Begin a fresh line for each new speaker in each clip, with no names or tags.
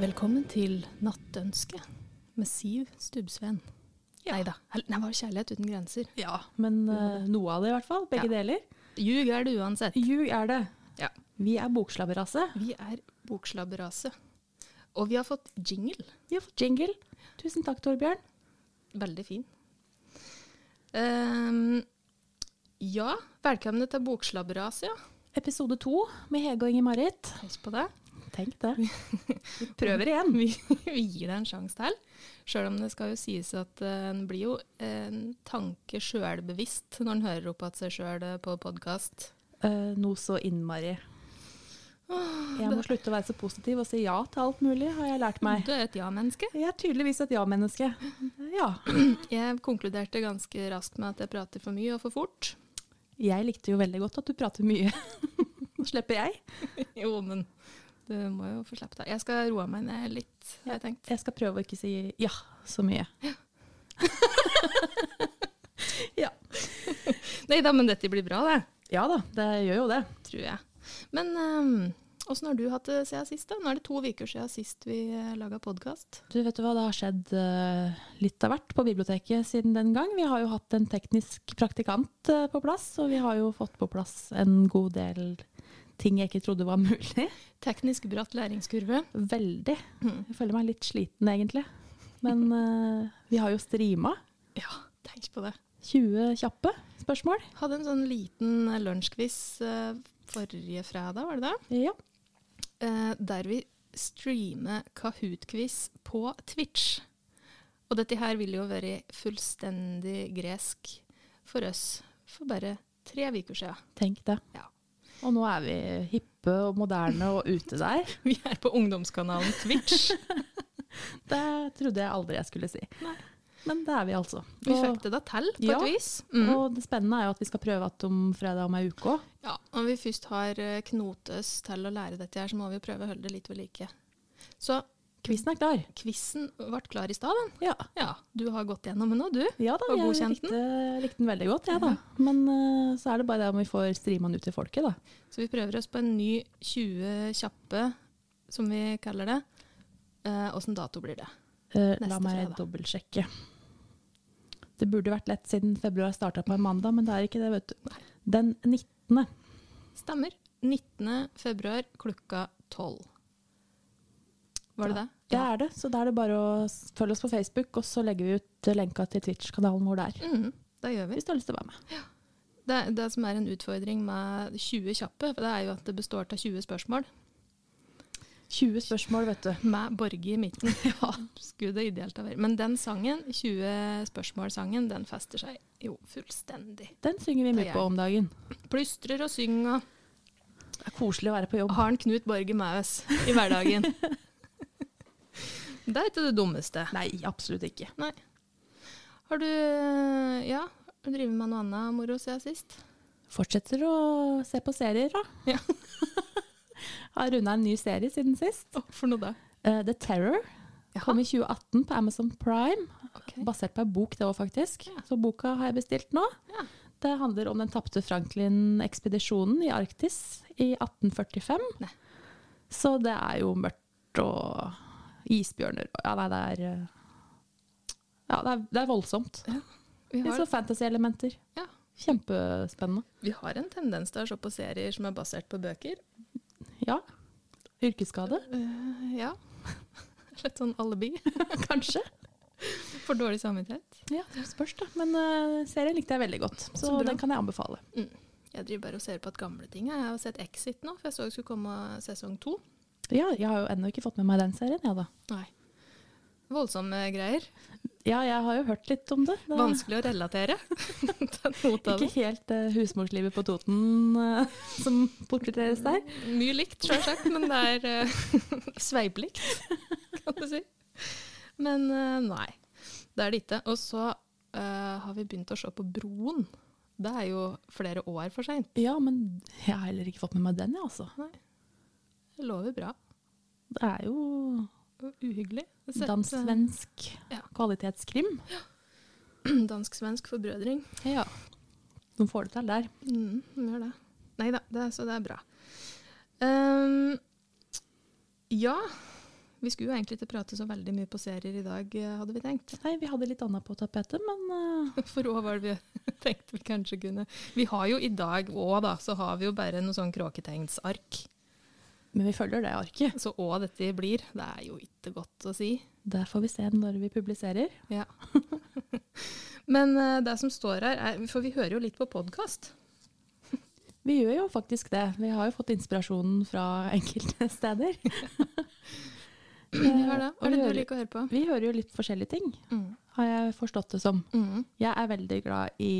Velkommen til Nattønsket med Siv Stubbsveen.
Ja.
Nei da, det var Kjærlighet uten grenser.
Ja,
Men eh, noe av det, i hvert fall. Begge deler.
Ljug er det uansett.
Ljug er det.
Ja.
Vi er bokslabberase.
Vi er bokslabberase. Og vi har fått jingle.
Vi har fått jingle. Tusen takk, Torbjørn.
Veldig fin. Ehm, ja, velkommen til bokslabberase. Ja.
Episode to med Hege og Inger-Marit.
Husk på det.
Tenk det.
Vi
Mm.
prøver igjen. Vi, vi gir deg en sjanse til. Sjøl om det skal jo sies at eh, en blir jo en tanke sjølbevisst når en hører opp at seg sjøl på podkast.
Eh, noe så innmari.
Ah,
Jeg må slutte å være så positiv og si ja til alt mulig, har jeg lært meg.
Du er et ja-menneske.
Jeg er tydeligvis et ja-menneske. Ja.
Jeg konkluderte ganske raskt med at jeg prater for mye og for fort.
Jeg likte jo veldig godt at du prater mye. Nå slipper jeg.
Jo, men du må jo få slippe deg. Jeg skal roe meg ned litt, har jeg tenkt.
Jeg skal prøve å ikke si ja så mye.
Nei da, men dette blir bra, det.
Ja da, det gjør jo det.
Tror jeg. Men ehm, åssen har du hatt det siden sist, da? Nå er det to uker siden sist vi eh, laga podkast.
Du vet du hva, det har skjedd eh, litt av hvert på biblioteket siden den gang. Vi har jo hatt en teknisk praktikant eh, på plass, og vi har jo fått på plass en god del ting jeg ikke trodde var mulig.
Teknisk bratt læringskurve.
Veldig.
Mm.
Jeg føler meg litt sliten egentlig. Men eh, vi har jo strima.
Ja, tenk på det.
20 kjappe spørsmål.
Hadde en sånn liten lunsjquiz eh, forrige fredag, var det det?
Ja.
eh, der vi streamer Kahoot-quiz på Twitch. Og dette her ville jo vært fullstendig gresk for oss for bare tre uker siden.
Tenk det.
Ja.
Og nå er vi hippe og moderne og ute der.
Vi er på ungdomskanalen Twitch.
Det trodde jeg aldri jeg skulle si. Men det er vi altså.
Vi
Og-
fikk det da til, på
Ja.
et vis. Mm.
Og det spennende er jo at vi skal prøve at om fredag om ei uke òg.
Ja, Når vi først har eh, knotet oss til å lære dette her, så må vi jo prøve å holde det litt ved like. Så
Quizen er klar.
quizen ble klar i stad, den.
Ja,
Ja, du har gått gjennom den nå, du.
ja da,
Og
jeg
godkjent
likte, likte den veldig godt, jeg da. Men eh, så er det bare det om vi får streama den ut til folket, da.
Så vi prøver oss på en ny 20 kjappe, som vi kaller det. Eh, Åssen dato blir det?
Eh,
Neste
la meg
fredag.
dobbeltsjekke. Det burde vært lett siden februar starta på en mandag, men det er ikke det, vet du. Den 19.
Stemmer. 19. februar klokka 12. Var det det?
Det er det, så da er det bare å s- følge oss på Facebook, og så legger vi ut eh, lenka til Twitch-kanalen vår der.
Mhm, det gjør vi.
Hvis du har lyst til å være med.
Det, det som er en utfordring med 20 kjappe, for det er jo at det består av 20 spørsmål
20 spørsmål, vet du.
med Borge i midten. Ja, skulle det ideelt ha vært. Men den sangen, 20 spørsmål-sangen, den fester seg jo fullstendig.
Den synger vi
Det
mye
er
på om dagen.
Plystrer og synger. og
Det er koselig å være på jobb.
har en Knut Borge med oss i hverdagen. det er ikke det dummeste.
Nei, absolutt ikke.
Nei. Har du ja, har du drevet med noe annet moro siden sist?
Fortsetter å se på serier, da.
Ja.
Har runda en ny serie siden sist.
for noe da?
Eh, The Terror kom i 2018 på Amazon Prime.
Ok.
Basert på en bok, det òg, faktisk.
Ja.
Så boka har jeg bestilt nå.
Ja.
Det handler om den tapte Franklin-ekspedisjonen i Arktis i 1845.
Nei.
Så det er jo mørkt og isbjørner og Ja, nei, det er eh, Ja, det er, det er voldsomt.
Vi
Litt
har,
sånn fantasy-elementer.
Ja.
Kjempespennende.
vi har en tendens til å se på serier som er basert på bøker.
Ja. Yrkesskade,
Eh, ja. Litt sånn alibi.
kanskje.
For dårlig samvittighet.
Ja, det spørs, da. Men eh, serien likte jeg veldig godt, så,
Så bra.
den kan jeg anbefale.
Jeg driver bare og ser på at gamle ting. Jeg har sett Exit nå, for jeg så det skulle komme sesong to.
Ja, jeg har jo ennå ikke fått med meg den serien, jeg, da.
Nei. Voldsomme greier.
Ja, jeg har jo hørt litt om det. det er
Vanskelig å relatere. Ta noe av
Ikke
det.
helt eh, husmorslivet på Toten eh, som portretteres der.
Mye likt, sjølsagt, men det er eh, sveiplikt, kan du si. Men eh, nei, det er det ikke. Og så eh, har vi begynt å se på Broen. Det er jo flere år for seint.
Ja, men jeg har heller ikke fått med meg den, jeg, altså.
Det lover bra.
Det er jo
Og uhyggelig. Jeg har sett, eh,
dansk
Ja.
kvalitetskrim.
eh, Dansk-svensk forbrødring.
Ja. De får det til der.
Mm, de gjør det. Nei da, det, er- så det er bra. Ehm, ja, vi skulle jo egentlig ikke prate så veldig mye på serier i dag, eh, hadde vi tenkt.
Nei, vi hadde litt annet på tapetet, men eh,
For òg var det vi tenkte vi kanskje kunne Vi har jo i dag òg, da, så har vi jo bare noe sånn kråketegnsark.
Men vi følger det arket.
Så òg dette blir. Det er jo ikke godt å si.
Der får vi se når vi publiserer.
Ja. Men eh, det som står her, er For vi hører jo litt på podkast.
Vi gjør jo faktisk det. Vi har jo fått inspirasjonen fra enkelte steder.
Vi har det. Hva er det
Og
du
vi
liker å høre på?
Vi hører jo litt forskjellige ting,
Mm.
har jeg forstått det som.
Mm.
Jeg er veldig glad i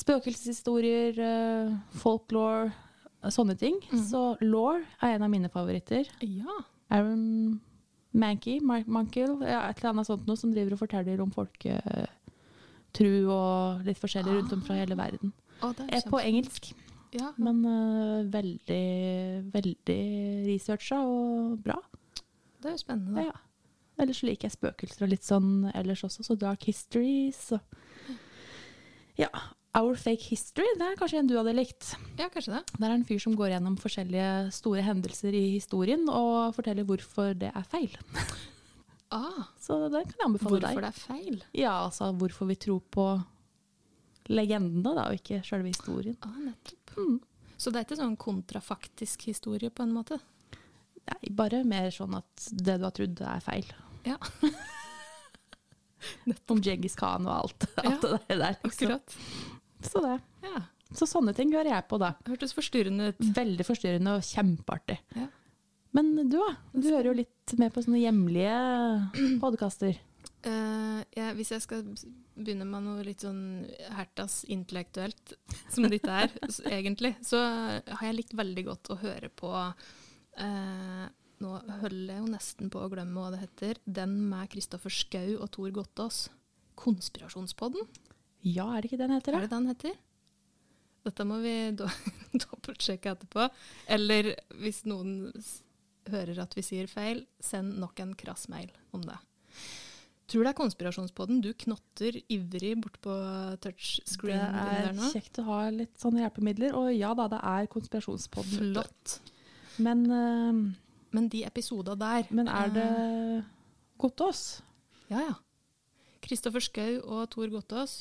spøkelseshistorier, eh, folklore, eh, sånne ting.
Mm.
Så law er en av mine favoritter.
Ja.
Aaron Mankey, Mark Mankel, ja, et eller annet sånt noe som driver og forteller om folketru og litt forskjellig rundt om fra hele verden.
Å, Ah, det
Er på
kjempe-
engelsk,
Ja.
men eh, veldig, veldig researcha og bra.
Det er jo spennende.
Ja, ja. Ellers liker jeg spøkelser og litt sånn ellers også, så dark histories og Ja. Our Fake History, det er kanskje en du hadde likt.
da. Ja, kanskje det.
Der er en fyr som går gjennom forskjellige store hendelser i historien og forteller hvorfor det er feil.
Ah,
Så det kan jeg anbefale
hvorfor
deg.
det er feil?
Ja, altså hvorfor vi tror på legendene, da, og ikke sjølve historien.
Ah, nettopp. Så det er ikke sånn kontrafaktisk historie, på en måte?
Nei, bare mer sånn at det du har trodd, er feil.
Ja.
Om Djengis Khan og alt.
Ja,
alt det der, liksom.
Akkurat.
Så, det.
Ja.
så sånne ting hører jeg på, da.
Hørtes forstyrrende ut.
Veldig forstyrrende og kjempeartig.
Ja.
Men du, da? Du hører jo litt med på sånne hjemlige podkaster.
Eh, jeg, hvis jeg skal begynne med noe litt sånn hertas intellektuelt, som dette er, s- egentlig, så har jeg likt veldig godt å høre på eh, Nå holder jeg jo nesten på å glemme hva det heter. Den med Kristoffer Schou og Tor Gottaas. Konspirasjonspodden,
Ja, er det ikke det den heter?
er
da?
det den heter? Dette må vi do- dobbeltsjekke etterpå. Eller hvis noen s- hører at vi sier feil, send nok en krass mail om det. Tror det er konspirasjonspodden. Du knotter ivrig bortpå
Det
touchscreen
er
der nå.
kjekt å ha litt sånne hjelpemidler. Og ja da, det er konspirasjonspodden. vet du.
Flott.
Men, eh,
Men de episoda der eh,
men er det Gottaas?
Ja, ja. Kristoffer Schou og Tor Gottaas.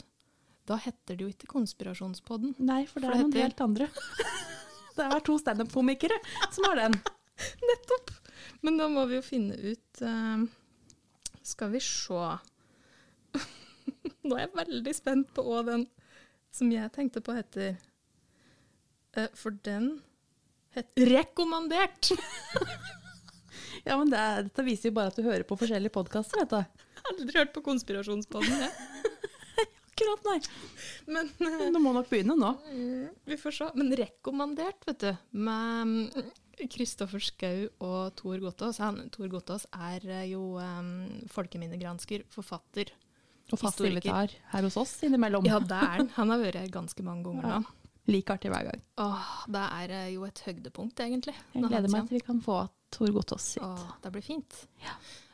Da heter det jo ikke Konspirasjonspodden.
Nei, for det
For
er
det
noen
heter-
helt andre. Det er to standup-komikere som har den.
Nettopp! Men da må vi jo finne ut eh, Skal vi se Nå er jeg veldig spent på hva den som jeg tenkte på, heter. Eh, for den het Rekommandert!
Ja, men det er, Dette viser jo bare at du hører på forskjellige podkaster.
Aldri hørt på Konspirasjonspodden, jeg.
Akkurat, nei.
Men
Men Du må nok begynne nå.
eh, vi får se. Men rekommandert, vet du, med mm, Kristoffer Schou og Tor Gottaas. Han, Tor Gottaas er eh, jo eh, folkeminnegransker, forfatter.
Og fast
Historiker.
invitar her hos oss innimellom.
Ja, det er han. Han har vært her ganske mange ganger nå.
Like artig hver gang.
Åh, det er eh, jo et høydepunkt, egentlig.
Jeg
når han
gleder
kommer.
meg til vi kan få Tor Gottaas sitt.
Åh, det blir fint.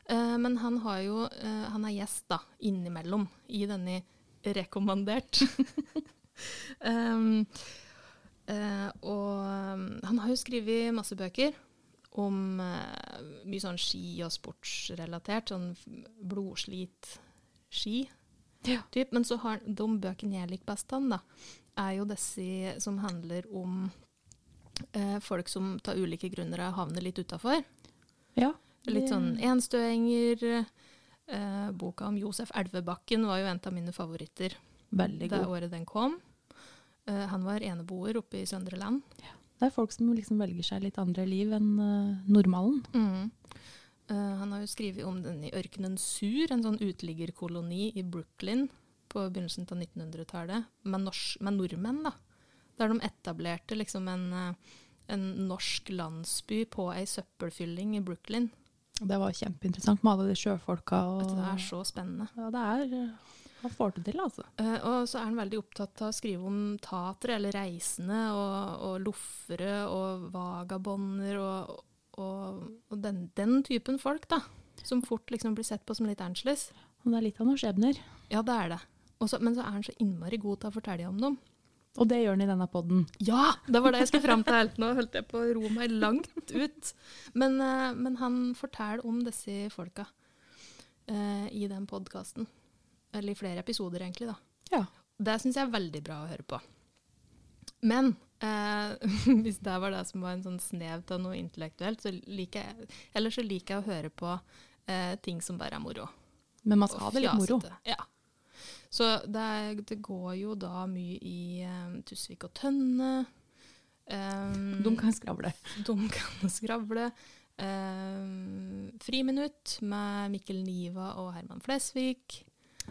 Eh, men han, har jo, eh, han er gjest da, innimellom i denne rekommandert. um, eh, og um, han har jo skrevet masse bøker om eh, mye sånn ski og sportsrelatert, sånn f- blodslit ski.
Ja.
Typ. Men så har de bøkene jeg liker best han da, er jo disse som handler om eh, folk som av ulike grunner havner litt utafor.
Ja.
Litt sånn enstøinger. Eh, boka om Josef Elvebakken var jo en av mine favoritter
Veldig
det
god.
året den kom. Eh, han var eneboer oppe i Søndre Land.
Det er folk som liksom velger seg litt andre liv enn eh, normalen.
Eh, han har jo skrevet om den i ørkenen Sur, en sånn uteliggerkoloni i Brooklyn på begynnelsen av 1900-tallet, med, nors- med nordmenn, da. Der de etablerte liksom en, eh, en norsk landsby på ei søppelfylling i Brooklyn.
Det var kjempeinteressant med alle de sjøfolka. Og,
Vet du, det er så spennende.
Ja, det er eh, Han får det til, altså.
Eh, og så er han veldig opptatt av å skrive om tatere, eller reisende, og, og loffere og vagabonder og, og, og den, den typen folk, da. Som fort liksom blir sett på som litt angeles.
Han er litt av noen skjebner.
Ja, det er det. Og så- men så er han så innmari god til å fortelle om dem.
Og det gjør han i denne podden.
Ja! Det var det jeg skulle fram til. Nå holdt jeg på å ro meg langt ut. Men, eh, men han forteller om disse folka eh, i den podkasten. Eller i flere episoder, egentlig. da.
Ja.
Det syns jeg er veldig bra å høre på. Men eh, hvis det var det som var en sånn snev av noe intellektuelt, så liker jeg, eller så liker jeg å høre på eh, ting som bare er moro.
Men man skal ha det litt moro.
Og fjasete. Ja. Så det, er, det går jo da mye i eh, Tusvik og Tønne. Um,
De kan skravle.
de kan skravle. Eh, friminutt med Mikkel Niva og Herman Flesvig.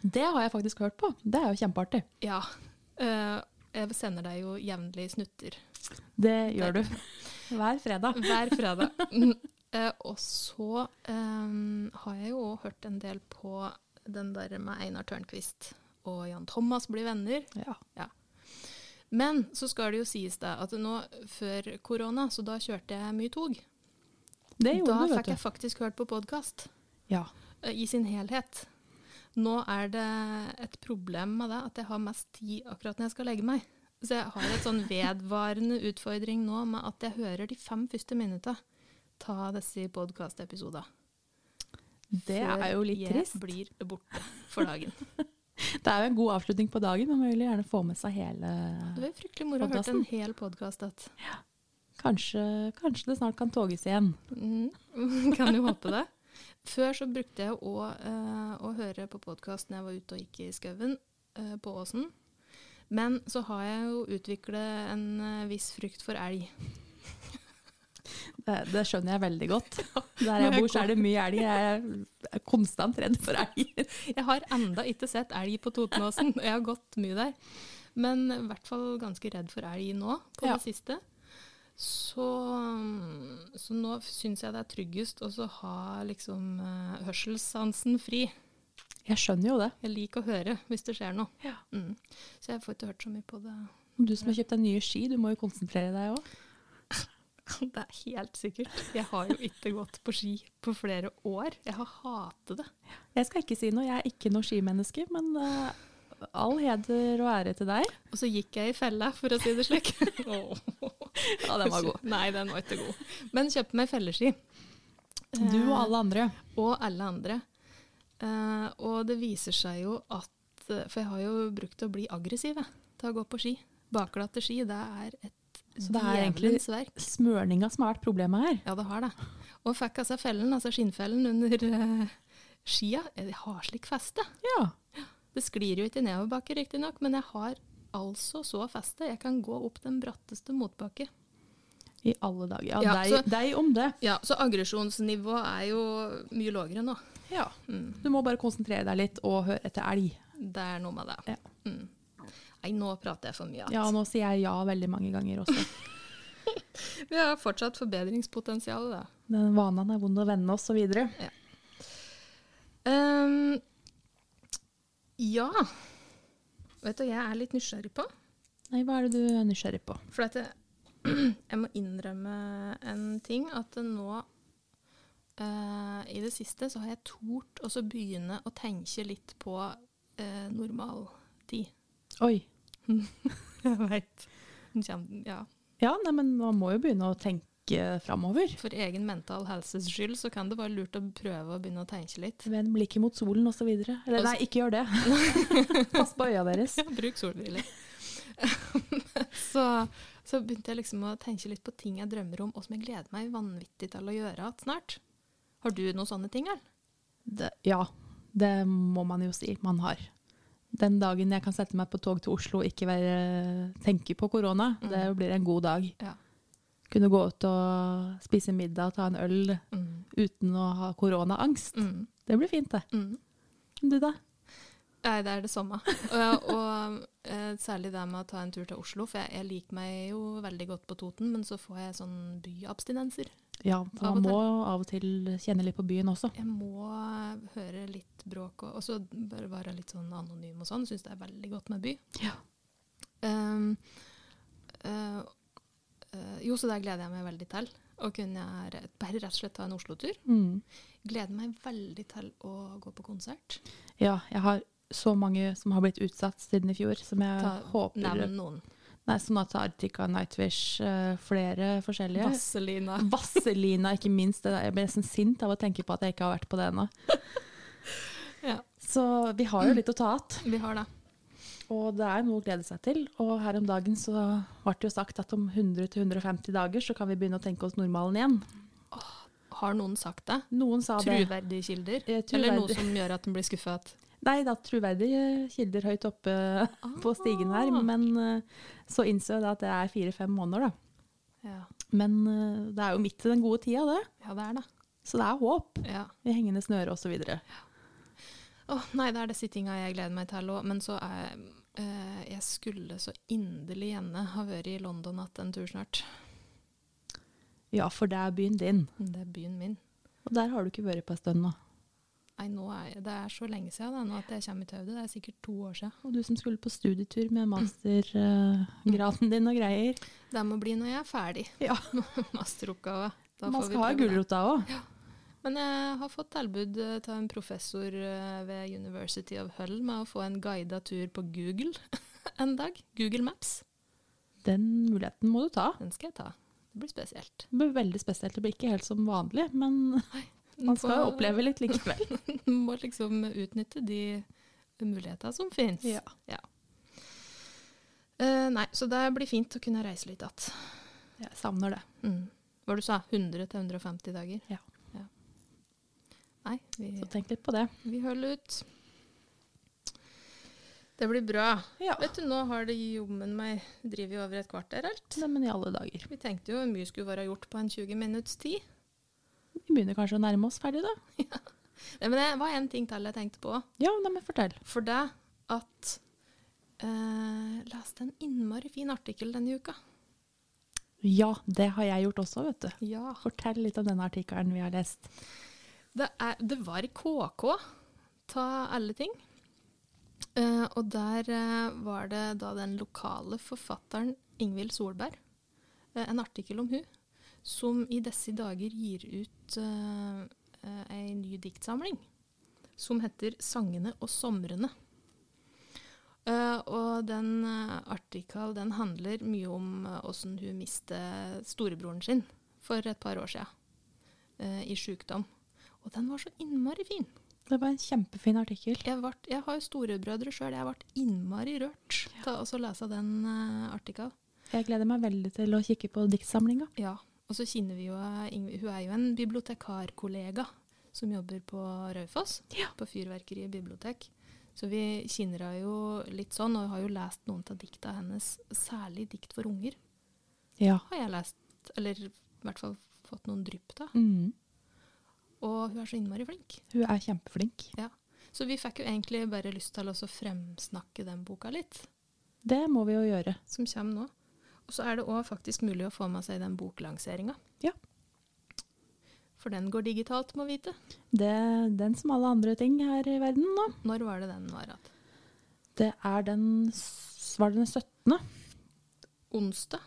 Det har jeg faktisk hørt på. Det er jo kjempeartig.
Ja. eh, jeg sender deg jo jevnlig snutter
Det gjør du. Hver fredag.
hver fredag. Mm, eh, og så eh, har jeg jo også hørt en del på den der med Einar Tørnquist og Jan Thomas blir venner.
Ja.
Men så skal det jo sies det at nå før korona, så da kjørte jeg mye tog.
Det
da
gjorde du,
fikk
vet
jeg faktisk hørt på podkast
du. Ja.
i sin helhet. Nå er det et problem med det at jeg har mest tid akkurat når jeg skal legge meg. Så jeg har et sånn vedvarende utfordring nå med at jeg hører de fem første minutta ta disse podkastepisodene.
Det er jo litt trist.
Før jeg blir borte for dagen.
Det er jo en god avslutning på dagen, men man vil jo gjerne få med seg hele
Det var jo fryktelig moro å høre
Podcasten.
en hel podkast.
Kanskje, kanskje det snart kan toges igjen.
Mm, kan jo håpe det. Før så brukte jeg å, eh, å høre på podkast når jeg var ute og gikk i skauen eh, på Åsen. Men så har jeg jo utvikla en eh, viss frykt for elg.
Det, det skjønner jeg veldig godt. Der jeg bor, så er det mye elg. Jeg er konstant redd for elg.
Jeg har enda ikke sett elg på Totenåsen, og jeg har gått mye der. Men i hvert fall ganske redd for elg nå, på
Ja.
det siste. Så, mm, så nå syns jeg det er tryggest å så ha liksom eh, hørselssansen fri.
Jeg skjønner jo det.
Jeg liker å høre hvis det skjer noe.
Ja.
Mm. Så jeg får ikke hørt så mye på det.
Du som har kjøpt deg nye ski, du må jo konsentrere deg òg.
Det er helt sikkert. Jeg har jo ikke gått på ski på flere år. Jeg har hatet det.
Jeg skal ikke si noe, jeg er ikke noe skimenneske, men eh, all heder og ære til deg.
Og så gikk jeg i fella, for å si det slik. Åh.
Ja, den var god.
Nei, den var ikke god. Men kjøpte meg felleski. Eh,
Du og alle andre.
og alle andre. Eh, og det viser seg jo at eh, For jeg har jo brukt å bli aggressiv jeg, til å gå på ski. Bakglatte ski, det er et
Så det er egentlig-
djevelens verk.
Smørninga som har vært problemet her.
Ja, det har det. Og fikk altså fellen, altså skinnfellen under eh, skia. Eh, Jeg har slik feste.
Ja.
Det sklir jo ikke nedoverbakke riktignok, men jeg har altså så feste. Jeg kan gå opp den bratteste motbakke.
I alle dager. Ja,
Ja,
deg,
så-
deg om det.
Ja, så aggresjonsnivået er jo mye lavere nå.
Ja.
Mm.
Du må bare konsentrere deg litt og høre etter elg.
Det er noe med det.
Ja.
Mm. Nei, nå prater jeg for mye.
Ja, nå sier jeg ja veldig mange ganger også.
Vi har fortsatt forbedringspotensial, da.
Den vanen er vond å vende oss og videre.
Ehm, ja. Vet du, jeg er litt nysgjerrig på.
Nei, hva er det du er nysgjerrig på?
For at jeg, jeg må innrømme en ting, at nå eh, i det siste så har jeg tort å så begynne å tenke litt på eh, normaltid.
Oi.
Jeg veit. Ja.
Ja, nei, men man må jo begynne å tenke framover.
For egen mental helses skyld så kan det være lurt å prøve å begynne å tenke litt.
Vend blikket mot solen osv. Eller
Altså-
nei, ikke gjør det. Pass på øya deres.
Ja, bruk solbriller. så, så begynte jeg liksom å tenke litt på ting jeg drømmer om, og som jeg gleder meg vanvittig til å gjøre igjen snart. Har du noen sånne ting, eller?
Det, ja, det må man jo si man har. Den dagen jeg kan sette meg på tog til Oslo og ikke være, tenke på korona,
Mm.
det blir en god dag.
Ja.
Kunne gå ut og spise middag og ta en øl
Mm.
uten å ha koronaangst.
Mm.
Det blir fint, det.
Mm.
Du, da?
Nei, det er det samme. Og, og eh, særlig det med å ta en tur til Oslo, for jeg, jeg liker meg jo veldig godt på Toten, men så får jeg sånn byabstinenser.
Ja, for
Av
man
og
må av og til kjenne litt på byen også.
Jeg må høre litt bråk og og så bare være litt sånn anonym og sånn. Syns det er veldig godt med by.
Ja.
Ehm, eh, eh, jo, så der gleder jeg meg veldig til. Å kunne re- bare rett og slett ta en Oslo-tur.
Mm.
Gleder meg veldig til å gå på konsert.
Ja, jeg har så mange som har blitt utsatt siden i fjor, som jeg
Ta-
håper
Nevn noen.
Nei, Sonata Arctica, Nightwish, eh, flere forskjellige.
Vazelina.
Vazelina, ikke minst. Det der- Jeg ble nesten sint av å tenke på at jeg ikke har vært på det ennå.
Ja.
Så vi har jo litt å ta att,
Vi har det.
og det er noe å glede seg til. Og her om dagen så ble det jo sagt at om 100-150 dager så kan vi begynne å tenke oss normalen igjen.
Har noen sagt det?
Noen sa det.
Truverdige kilder?
Eh,
Eller noe
truverdig-
som gjør at en blir skuffet?
Nei, da truverdige kilder høyt oppe på stigen her. Men eh, så innså jeg da at det er fire-fem måneder, da.
Ja,
Men eh, det er jo midt i den gode tida, det.
ja det er det.
Så det er håp.
Ja.
I hengende snøre osv.
Åh, nei, det er disse tinga jeg gleder meg til òg. Men så er eh, Jeg skulle så inderlig gjerne ha vært i London att en tur snart.
Ja, for det er byen din.
Det er byen min.
Og der har du ikke vært på en stund nå.
Nei, nå er, jeg- det er så lenge siden da, nå at jeg kommer i hodet. Det er sikkert to år siden.
Og du som skulle på studietur med mastergraden din og greier.
Det må bli når jeg er ferdig.
Ja.
Masteroppgave. Da
Man
får vi
skal ha
prøve det.
gulrota òg.
Men jeg har fått tilbud eh, til en professor eh, ved University of Hull med å få en guida tur på Google en dag. Google Maps.
Den muligheten må du ta.
Den skal jeg ta. Det blir spesielt.
Det blir veldig spesielt. Det blir ikke helt som vanlig, men man skal jo
På-
oppleve litt likevel.
må liksom utnytte de muligheter som finnes.
Ja.
Eh, nei, så det blir fint å kunne reise litt att.
Jeg savner det.
Mm. Hva du sa? 100 til 150 dager?
Ja.
Nei, vi,
Så tenk litt på det.
vi holder ut. Det blir bra.
Ja.
Vet du, nå har det jommen meg drevet over et kvarter alt.
Nei, men i alle dager.
Vi tenkte jo mye skulle være gjort på en 20 minutts tid.
Vi begynner kanskje å nærme oss ferdig, da.
Nei, men det var en ting til jeg tenkte på.
Ja, nei, men fortell.
For det at eh, Leste en innmari fin artikkel denne uka.
Ja, det har jeg gjort også, vet du.
Ja.
Fortell litt om denne artikkelen vi har lest.
Det, er, det var i KK, ta alle ting. Eh, og der eh, var det da den lokale forfatteren Ingvild Solberg, eh, en artikkel om hun, som i disse dager gir ut uh, ei ny diktsamling som heter 'Sangene og somrene'. Eh, og den uh, artikkelen den handler mye om åssen hun mistet storebroren sin for et par år siden, eh, i sjukdom. Og den var så innmari fin.
Det var en kjempefin artikkel.
Jeg, vart, jeg har jo storebrødre sjøl. Jeg ble innmari rørt til å så lese den uh, artikkelen.
Jeg gleder meg veldig til å kikke på diktsamlinga.
Ja. Og så kjenner vi jo eh, Ingvi- Hun er jo en bibliotekarkollega som jobber på Raufoss,
Ja.
på Fyrverkeriet bibliotek. Så vi kjenner henne jo litt sånn, og har jo lest noen av dikta hennes, særlig dikt for unger,
Ja.
har jeg lest. Eller i hvert fall fått noen drypp av.
Mm.
Og hun er så innmari flink.
Hun er kjempeflink.
Så vi fikk jo egentlig bare lyst til å så fremsnakke den boka litt.
Det må vi jo gjøre.
som kommer nå. Og så er det òg faktisk mulig å få med seg den boklanseringa.
Ja.
For den går digitalt, må vite.
Det er den som alle andre ting her i verden nå.
Når var det den var igjen?
Det er den s- Var det den 17.?
Onsdag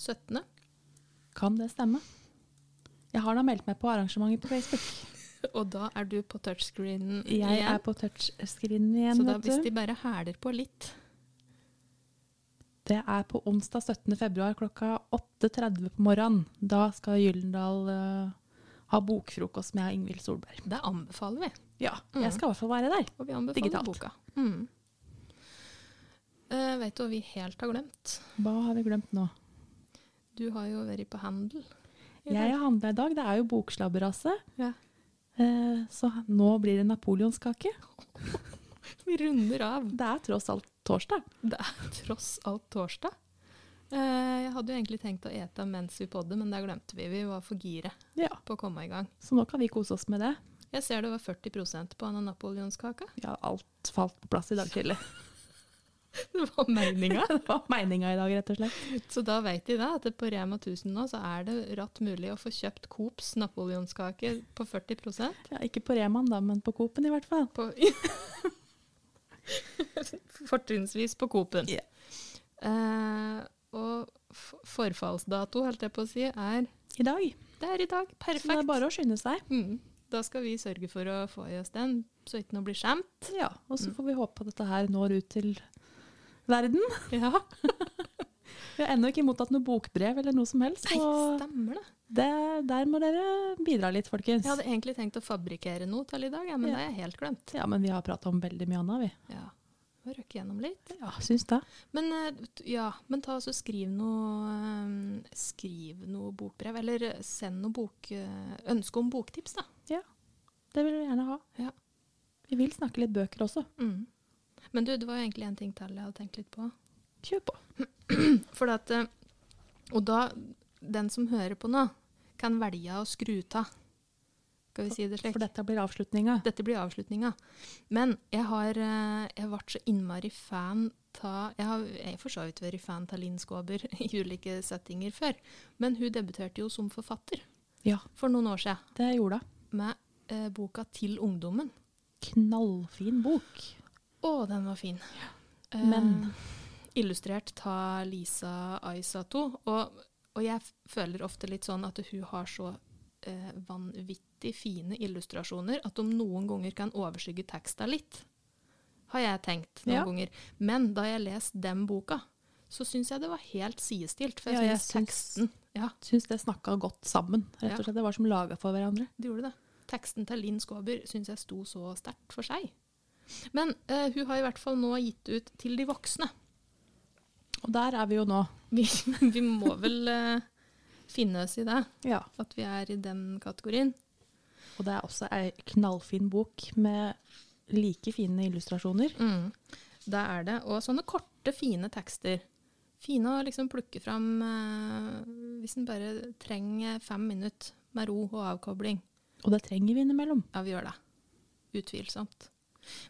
17.
Kan det stemme? Jeg har da meldt meg på arrangementet på Facebook.
Og da er du på touchscreenen
Jeg
igjen.
er på touchscreen igjen,
så da, hvis
vet du.
de bare hæler på litt
Det er på onsdag 17. februar klokka 8.30 på morgenen. Da skal Gyllendal eh, ha bokfrokost med Ingvild Solberg.
Det anbefaler vi.
Ja,
Mm.
jeg skal i hvert fall være der.
Og vi anbefaler
Digitalt.
boka. Mm. Eh, vet du hva vi helt har glemt?
Hva har vi glemt nå?
Du har jo vært på handel. i dag.
Jeg har handla i dag. Det er jo bokslabberaset.
Ja.
Eh, så nå blir det napoleonskake.
Vi runder av.
Det er tross alt torsdag.
Det er tross alt torsdag. Eh, Jeg hadde jo egentlig tenkt å ete mens vi podde, men det glemte vi. Vi var for gire
Ja.
på å komme i gang.
Så nå kan vi kose oss med det.
Jeg ser det var 40 på denne napoleonskaka.
Ja, alt falt på plass i dag tidlig.
Det var meninga.
Det var meninga i dag, rett og slett.
Så da vet de da at det på Rema 1000 nå så er det ratt mulig å få kjøpt Coops napoleonskake på 40
Ja, ikke på Reman, da, men på Coop-en i hvert fall.
på Fortrinnsvis på Coop-en.
Ja.
Eh, og f- forfallsdato, holdt jeg på å si, er
I dag.
Det er i dag.
Så det
Perfekt.
er bare å skynde seg.
Mm. Da skal vi sørge for å få i oss den, så ikke noe blir skjemt.
Ja, Og
Mm.
så får vi håpe at dette her når ut til verden.
Ja.
Vi har ennå ikke mottatt noe bokbrev eller noe som helst.
Nei,
Og
stemmer det.
det, der må dere bidra litt, folkens.
Jeg hadde egentlig tenkt å fabrikkere noe til i dag, ja, men
Ja.
det har jeg helt glemt.
Ja, men vi har prata om veldig mye annet, vi.
Ja. Må røkke gjennom litt.
Ja, syns det.
Men, eh, t- ja, men ta så skriv noe eh, Skriv noe bokbrev, eller eh, send noe bok, eh, ønske om boktips, da.
Det vil vi gjerne ha.
Ja.
Vi vil snakke litt bøker også.
Mm. Men du, det var jo egentlig en ting til jeg hadde tenkt litt på.
Kjør på.
For at, eh, og da, den som hører på nå, kan velge å skru av. Skal vi si det slik?
For dette blir avslutninga.
Dette blir avslutninga. Men jeg har eh, jeg ble så innmari fan av Jeg har jeg har for så vidt vært fan av Linn Skåber i ulike settinger før. Men hun debuterte jo som forfatter
Ja,
for noen år siden
det gjorde hun.
med eh, boka 'Til ungdommen'.
Knallfin bok.
Å, den var fin. Eh,
Men-
Illustrert av Lisa Aisato. Og, og jeg f- føler ofte litt sånn at hun har så eh, vanvittig fine illustrasjoner at de noen ganger kan overskygge teksta litt. Har jeg tenkt noen
Ja.
ganger. Men da jeg leste den boka, så syns jeg det var helt sidestilt. For
Ja,
jeg
jeg
syns
syns-
teksten Ja,
Syns det snakka godt sammen. Rett
Ja.
og slett, Det var som laga for hverandre.
det gjorde det. Teksten til Linn Skåber syns jeg sto så sterkt for seg. Men eh, hun har i hvert fall nå gitt ut til de voksne.
Og der er vi jo nå.
Vi, vi må vel eh, finne oss i det,
Ja.
at vi er i den kategorien.
Og det er også ei knallfin bok med like fine illustrasjoner.
Det er det. Og sånne korte, fine tekster. Fine å liksom plukke fram eh, hvis en bare trenger fem minutter med ro og avkobling.
Og det trenger vi innimellom.
Ja, vi gjør det. Utvilsomt.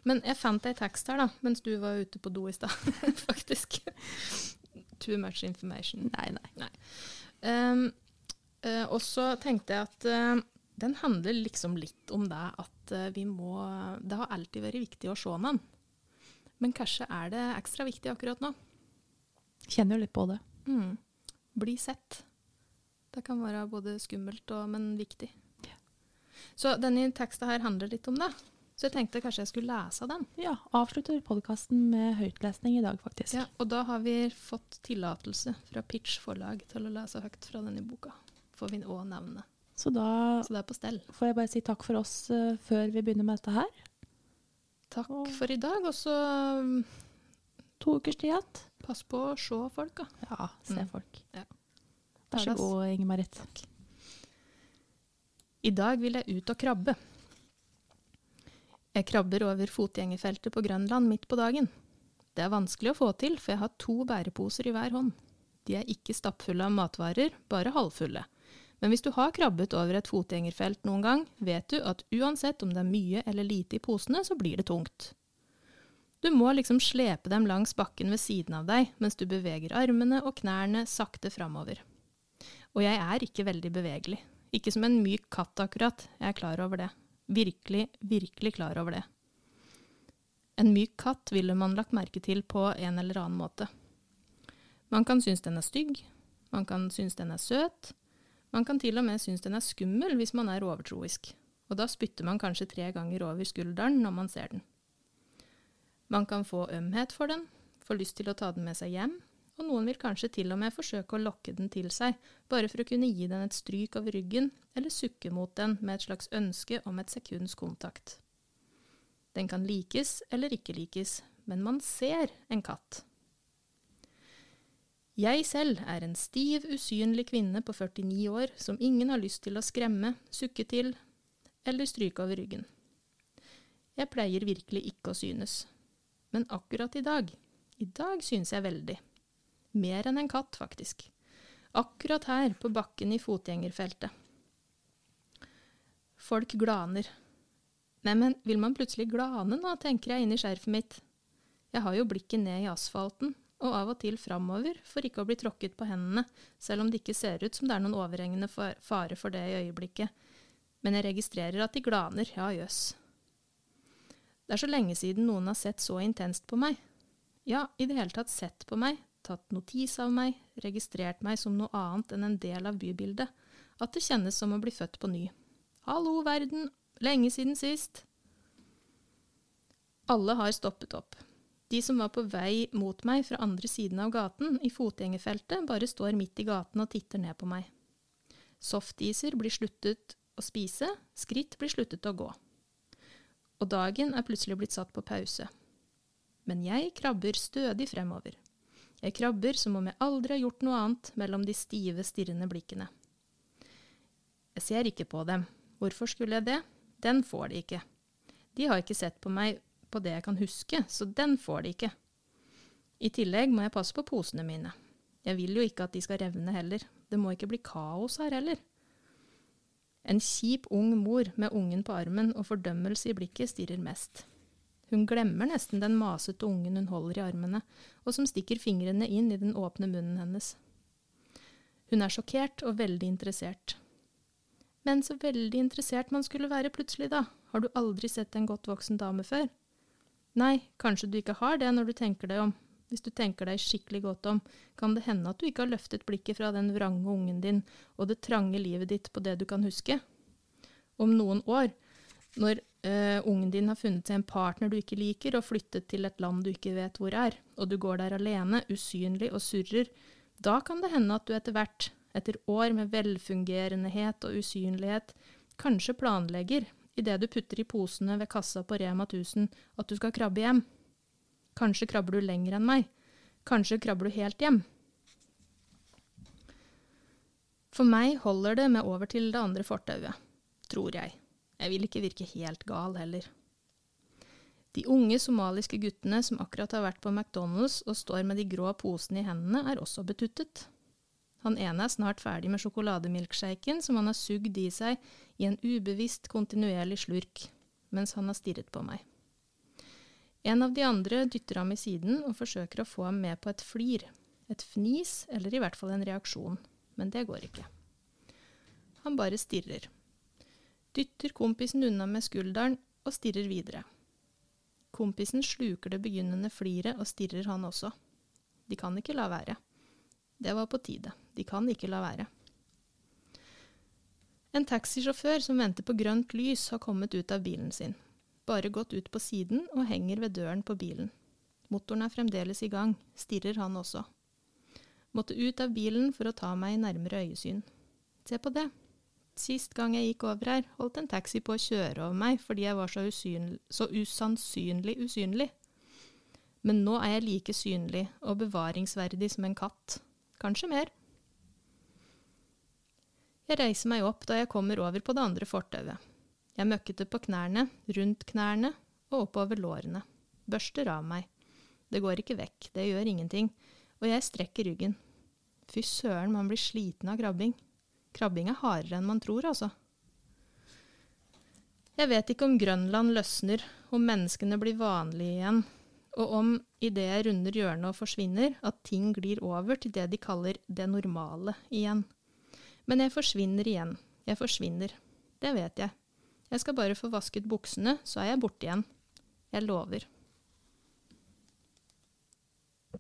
Men jeg fant ei tekst her, da, mens du var ute på do i stad, faktisk. Too much information.
Nei, nei.
Um, eh, og så tenkte jeg at eh, den handler liksom litt om det at eh, vi må Det har alltid vært viktig å se den. Men kanskje er det ekstra viktig akkurat nå.
Kjenner jo litt på det.
Mm. Bli sett. Det kan være både skummelt og men viktig. Så denne teksten her handler litt om det. Så jeg tenkte kanskje jeg skulle lese den.
Ja, avslutter podkasten med høytlesning i dag, faktisk.
Ja, og da har vi fått tillatelse fra Pitch forlag til å lese høyt fra denne boka. Får vi òg nevne.
Så da
Så det er på stell.
får jeg bare si takk for oss eh, før vi begynner med dette her.
Takk
Og-
for i dag, og så um,
To ukers tid igjen.
pass på å se folk, da.
Ja, se
Mm.
folk.
Ja.
Vær så
Ferdes.
god, Inger-Marit.
I dag vil jeg ut og krabbe. Jeg krabber over fotgjengerfeltet på Grønland midt på dagen. Det er vanskelig å få til, for jeg har to bæreposer i hver hånd. De er ikke stappfulle av matvarer, bare halvfulle. Men hvis du har krabbet over et fotgjengerfelt noen gang, vet du at uansett om det er mye eller lite i posene, så blir det tungt. Du må liksom slepe dem langs bakken ved siden av deg, mens du beveger armene og knærne sakte framover. Og jeg er ikke veldig bevegelig. Ikke som en myk katt, akkurat. Jeg er klar over det. Virkelig, virkelig klar over det. En myk katt ville man lagt merke til på en eller annen måte. Man kan synes den er stygg, man kan synes den er søt, man kan til og med synes den er skummel hvis man er overtroisk. Og da spytter man kanskje tre ganger over skulderen når man ser den. Man kan få ømhet for den, få lyst til å ta den med seg hjem, og noen vil kanskje til og med forsøke å lokke den til seg, bare for å kunne gi den et stryk over ryggen, eller sukke mot den med et slags ønske om et sekunds kontakt. Den kan likes eller ikke likes, men man ser en katt. Jeg selv er en stiv, usynlig kvinne på 49 år som ingen har lyst til å skremme, sukke til eller stryke over ryggen. Jeg pleier virkelig ikke å synes. Men akkurat i dag, i dag synes jeg veldig. Mer enn en katt, faktisk. Akkurat her, på bakken i fotgjengerfeltet. Folk glaner. Neimen, vil man plutselig glane nå, tenker jeg inni skjerfet mitt. Jeg har jo blikket ned i asfalten, og av og til framover, for ikke å bli tråkket på hendene, selv om det ikke ser ut som det er noen overhengende fa- fare for det i øyeblikket. Men jeg registrerer at de glaner, ja jøss. Det er så lenge siden noen har sett så intenst på meg. Ja, i det hele tatt sett på meg, tatt notis av meg, registrert meg som noe annet enn en del av bybildet, at det kjennes som å bli født på ny. Hallo, verden, lenge siden sist. Alle har stoppet opp. De som var på vei mot meg fra andre siden av gaten, i fotgjengerfeltet, bare står midt i gaten og titter ned på meg. Softiser blir sluttet å spise, skritt blir sluttet å gå. Og dagen er plutselig blitt satt på pause. Men jeg krabber stødig fremover. Jeg krabber som om jeg aldri har gjort noe annet mellom de stive, stirrende blikkene. Jeg ser ikke på dem. Hvorfor skulle jeg det? Den får de ikke. De har ikke sett på meg på det jeg kan huske, så den får de ikke. I tillegg må jeg passe på posene mine. Jeg vil jo ikke at de skal revne heller. Det må ikke bli kaos her heller. En kjip ung mor med ungen på armen og fordømmelse i blikket stirrer mest. Hun glemmer nesten den masete ungen hun holder i armene, og som stikker fingrene inn i den åpne munnen hennes. Hun er sjokkert og veldig interessert. Men så veldig interessert man skulle være plutselig, da. Har du aldri sett en godt voksen dame før? Nei, kanskje du ikke har det når du tenker deg om. Hvis du tenker deg skikkelig godt om, kan det hende at du ikke har løftet blikket fra den vrange ungen din og det trange livet ditt på det du kan huske. Om noen år, når eh, ungen din har funnet seg en partner du ikke liker og flyttet til et land du ikke vet hvor er, og du går der alene, usynlig og surrer, da kan det hende at du etter hvert, etter år med velfungerendehet og usynlighet, kanskje planlegger, idet du putter i posene ved kassa på Rema 1000, at du skal krabbe hjem. Kanskje krabber du lenger enn meg. Kanskje krabber du helt hjem. For meg holder det med over til det andre fortauet, tror jeg. Jeg vil ikke virke helt gal heller. De unge somaliske guttene som akkurat har vært på McDonald's og står med de grå posene i hendene, er også betuttet. Han ene er snart ferdig med sjokolademilkshaken som han har sugd i seg i en ubevisst, kontinuerlig slurk, mens han har stirret på meg. En av de andre dytter ham i siden og forsøker å få ham med på et flir, et fnis eller i hvert fall en reaksjon, men det går ikke. Han bare stirrer. Dytter kompisen unna med skulderen og stirrer videre. Kompisen sluker det begynnende fliret og stirrer han også. De kan ikke la være. Det var på tide. De kan ikke la være. En taxisjåfør som venter på grønt lys, har kommet ut av bilen sin. Bare gått ut på siden og henger ved døren på bilen. Motoren er fremdeles i gang, stirrer han også. Måtte ut av bilen for å ta meg i nærmere øyesyn. Se på det. Sist gang jeg gikk over her, holdt en taxi på å kjøre over meg fordi jeg var så, usynl så usannsynlig usynlig. Men nå er jeg like synlig og bevaringsverdig som en katt. Kanskje mer. Jeg reiser meg opp da jeg kommer over på det andre fortauet. Jeg møkkete på knærne, rundt knærne og oppover lårene. Børster av meg. Det går ikke vekk, det gjør ingenting, og jeg strekker ryggen. Fy søren, man blir sliten av krabbing. Krabbing er hardere enn man tror, altså. Jeg vet ikke om Grønland løsner, om menneskene blir vanlige igjen, og om, idet jeg runder hjørnet og forsvinner, at ting glir over til det de kaller det normale igjen. Men jeg forsvinner igjen. Jeg forsvinner. Det vet jeg. Jeg skal bare få vasket buksene, så er jeg borte igjen. Jeg lover.